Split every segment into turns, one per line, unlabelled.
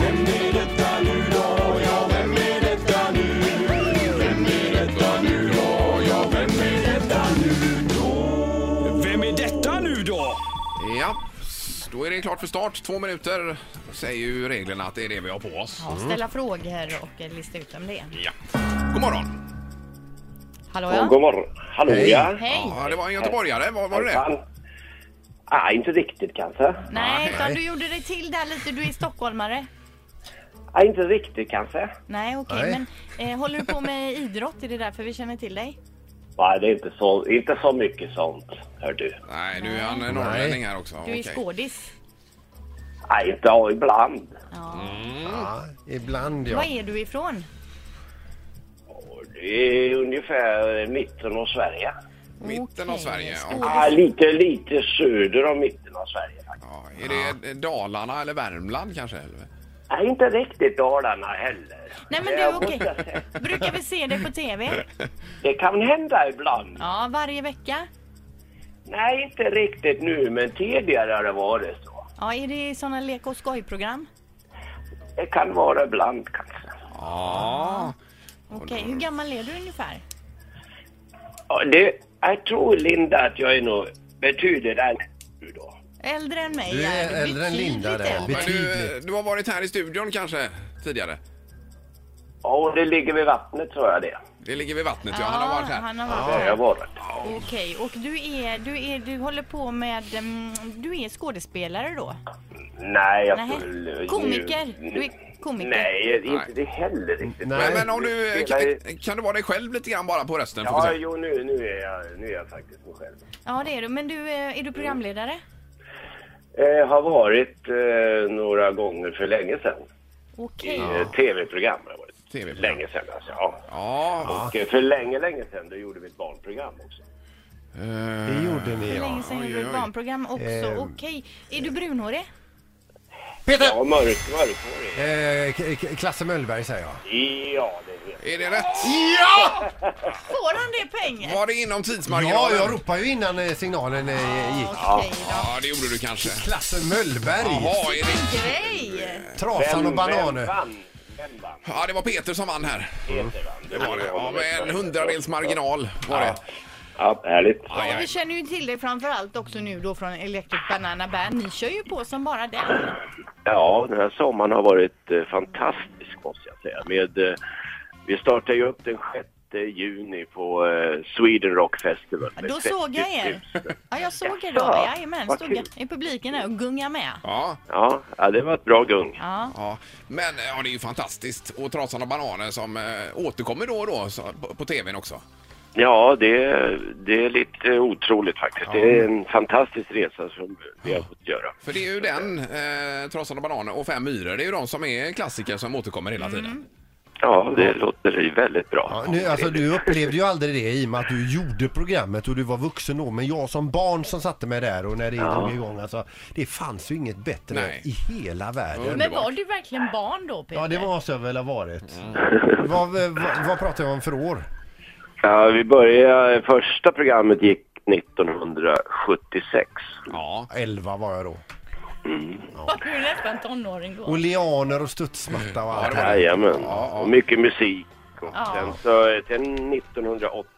Vem är detta nu då? Ja, vem är detta nu? Vem är detta nu då? Ja, vem är detta nu då? Vem är detta nu då?
Ja, då är det klart för start. Två minuter säger ju reglerna att det är det vi har på oss.
Ja, ställa frågor och eh, lista ut om det. är.
Ja. God morgon.
Hallå
Ja.
ja.
God morgon. Hallå ja.
Hej!
Ja, det var en göteborgare. Var, var det det?
Hejsan. Ah, inte riktigt kanske.
Nej,
Nej.
utan du gjorde dig till där lite. Du är stockholmare.
Ah, inte riktigt kanske.
Nej, okej.
Nej.
Men eh, håller du på med idrott? Är det därför vi känner till dig?
Nej, det är inte så, inte så mycket sånt, hör du.
Nej, nu är han en norrlänning här också.
Du är
Okej.
skådis.
Nej, Ah, inte ja, ibland.
Ja.
Mm,
Ja, ibland
Var
ja.
är du ifrån?
Och Det är ungefär mitten av Sverige.
Mitten av
Okej,
Sverige, ja.
skådis.
Ah, lite, lite söder om mitten av Sverige.
Ja, är det Dalarna eller Värmland kanske? Eller?
Nej, Ah, inte riktigt Dalarna heller.
Nej men
Jag
du,
måste
okej.
säga,
Brukar vi se dig på TV?
Det kan hända ibland.
Ja, varje vecka.
Nej, inte riktigt nu, men tidigare har det varit så.
Ja, är det sådana lek och skojprogram?
Det kan vara ibland kanske.
Ja.
Okej, hur gammal är du ungefär?
Ja, det, jag tror Linda att jag är nog betydligt äldre nu då.
Äldre än mig?
Du är äldre än
betydligt
Linda där.
äldre.
Men du,
Betydligt.
du har varit här i studion kanske tidigare?
Ja, och det ligger vid vattnet tror jag det.
Det ligger vid vattnet, ja. Han har varit här.
Han har varit
Det har
här.
jag varit.
Okej, och du är, du är, du håller på med, mm, du är skådespelare då?
Nej, jag
Nej.
skulle...
Komiker.
Nu-
Du är komiker.
Nej, inte
Nej.
det heller riktigt.
Nej.
Men, men om du,
Spelar ju-
kan, kan du vara dig själv lite grann bara på rösten? Får vi
Ja,
se.
jo, nu, nu, är jag, nu är jag faktiskt mig själv.
Ja, det är du. Men du, eh, är du programledare?
Eh, har varit eh, några gånger för länge sedan. I
Okej.
eh, tv-program har jag varit.
TV-program.
Länge sedan alltså, ja.
Ja,
Och eh, för länge, länge sedan då gjorde vi ett barnprogram också.
Det gjorde ni
Hur
ja.
länge sedan
oj,
gjorde du ett
oj.
barnprogram också?
Ehm.
Okej. Är du brunhårig?
Peter!
Ja, mörk, mörkhårig.
Eh, K- K- Klasse Möllberg säger jag.
Ja, det vet
Eh, är det rätt?
Ja!
Får han det pengar?
Var det inom
Ja,
tidsmarginalen?
jag ropade ju innan eh, signalen eh, gick.
Okej då.
Ja, det gjorde du kanske.
Klasse Möllberg!
Jaha, är det...
Grej!
Trasan och
Vem
bananer.
vann? Vem vann?
Ja, det var Peter som vann här.
Peter vann.
Det var det. Ja, med en hundradels marginal var det.
Ja, härligt.
Aj,
Ja, vi
aj.
känner ju till dig framförallt också nu då från Electric Banana Band. Ni kör ju på som bara den.
Ja, den här sommaren har varit eh, fantastisk måste jag säga. Med, eh, vi startar ju upp den 6 juni på eh, Sweden Rock Festival.
Ja,
med
Då såg jag
30
er.
000.
Ja, jag såg er då.
Jaså,
Jajamän,
vad
stod jag
kul.
i publiken där och gungade med.
Ja,
Ja, ja, det var ett bra gung.
Ja.
ja. Men ja, det är ju fantastiskt. Och Trasan och bananer som eh, återkommer då och då så, på, på tvn också.
Ja, det, det är lite otroligt faktiskt. Det är en fantastisk resa som vi har fått göra.
För det är ju den, eh, Trasan och bananer och Fem myror, det är ju de som är klassiker som återkommer hela tiden.
Ja, det låter ju väldigt bra.
Ja, nu, alltså, du upplevde ju aldrig det i och med att du gjorde programmet och du var vuxen då. Men jag som barn som satte mig där och när det drog igång alltså. Det fanns ju inget bättre
Nej.
i hela världen.
Men var du verkligen barn då, Peter?
Ja, det var så jag väl har varit. Vad, eh, vad, vad pratar jag om för år?
Ja, vi började, första programmet gick 1976.
Ja.
11 var jag då.
Var du nästan tonåring då?
Och leaner och studsmatta och allt.
det var det.
Jajamän,
Ja, ja.
och mycket musik. Och
Ja.
Sen så, eh, sen 1980,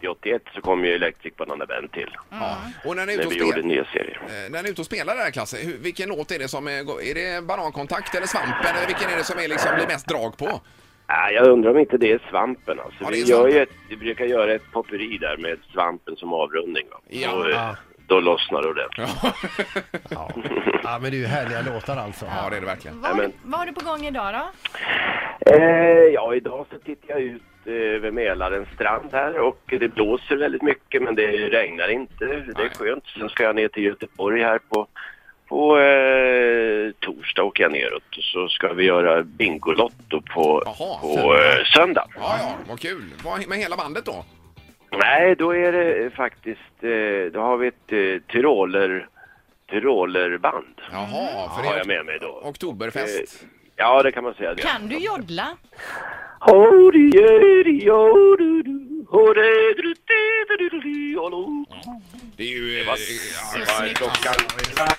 81 så kom ju Electric Banana Band till.
ja. Och när ni är ute
När
och
vi gjorde
spelar,
nya serier.
eh, när ni är ute och spelar där Klasse, hur, vilken låt är det som eh, är, är det banankontakt eller svampen eller vilken är det som är liksom blir mest drag på?
Ja, jag undrar om inte det är svampen alltså.
Ja, det är
vi,
svampen.
Gör ju ett, vi brukar göra ett potpurri där med svampen som avrundning. Va?
Ja.
Och, eh, då lossnar det ordentligt.
Ja,
Ja. ja, men det är ju härliga låtar alltså.
ja det är det verkligen.
Vad, har
Nej,
du- vad har du på gång idag då?
Eh, ja, idag så tittar jag ut över Mälarens strand här och det blåser väldigt mycket men det regnar inte. Det
Nej.
är skönt. Sen ska jag ner till Göteborg här på, på eh, torsdag åker jag neråt och så ska vi göra Bingolotto på,
Jaha,
på
söndag.
eh, söndag.
Ja, ja, vad kul. Vad, med hela bandet då?
Nej, då är det eh, faktiskt, eh, då har vi ett eh, tyroler, tyrolerband.
Jaha, för
Har jag
det är
med mig då.
oktoberfest.
Ja, det kan man säga. Det.
Kan du joddla?
Det
Det är ju... eh,
var
ja, eh,
klockan kvart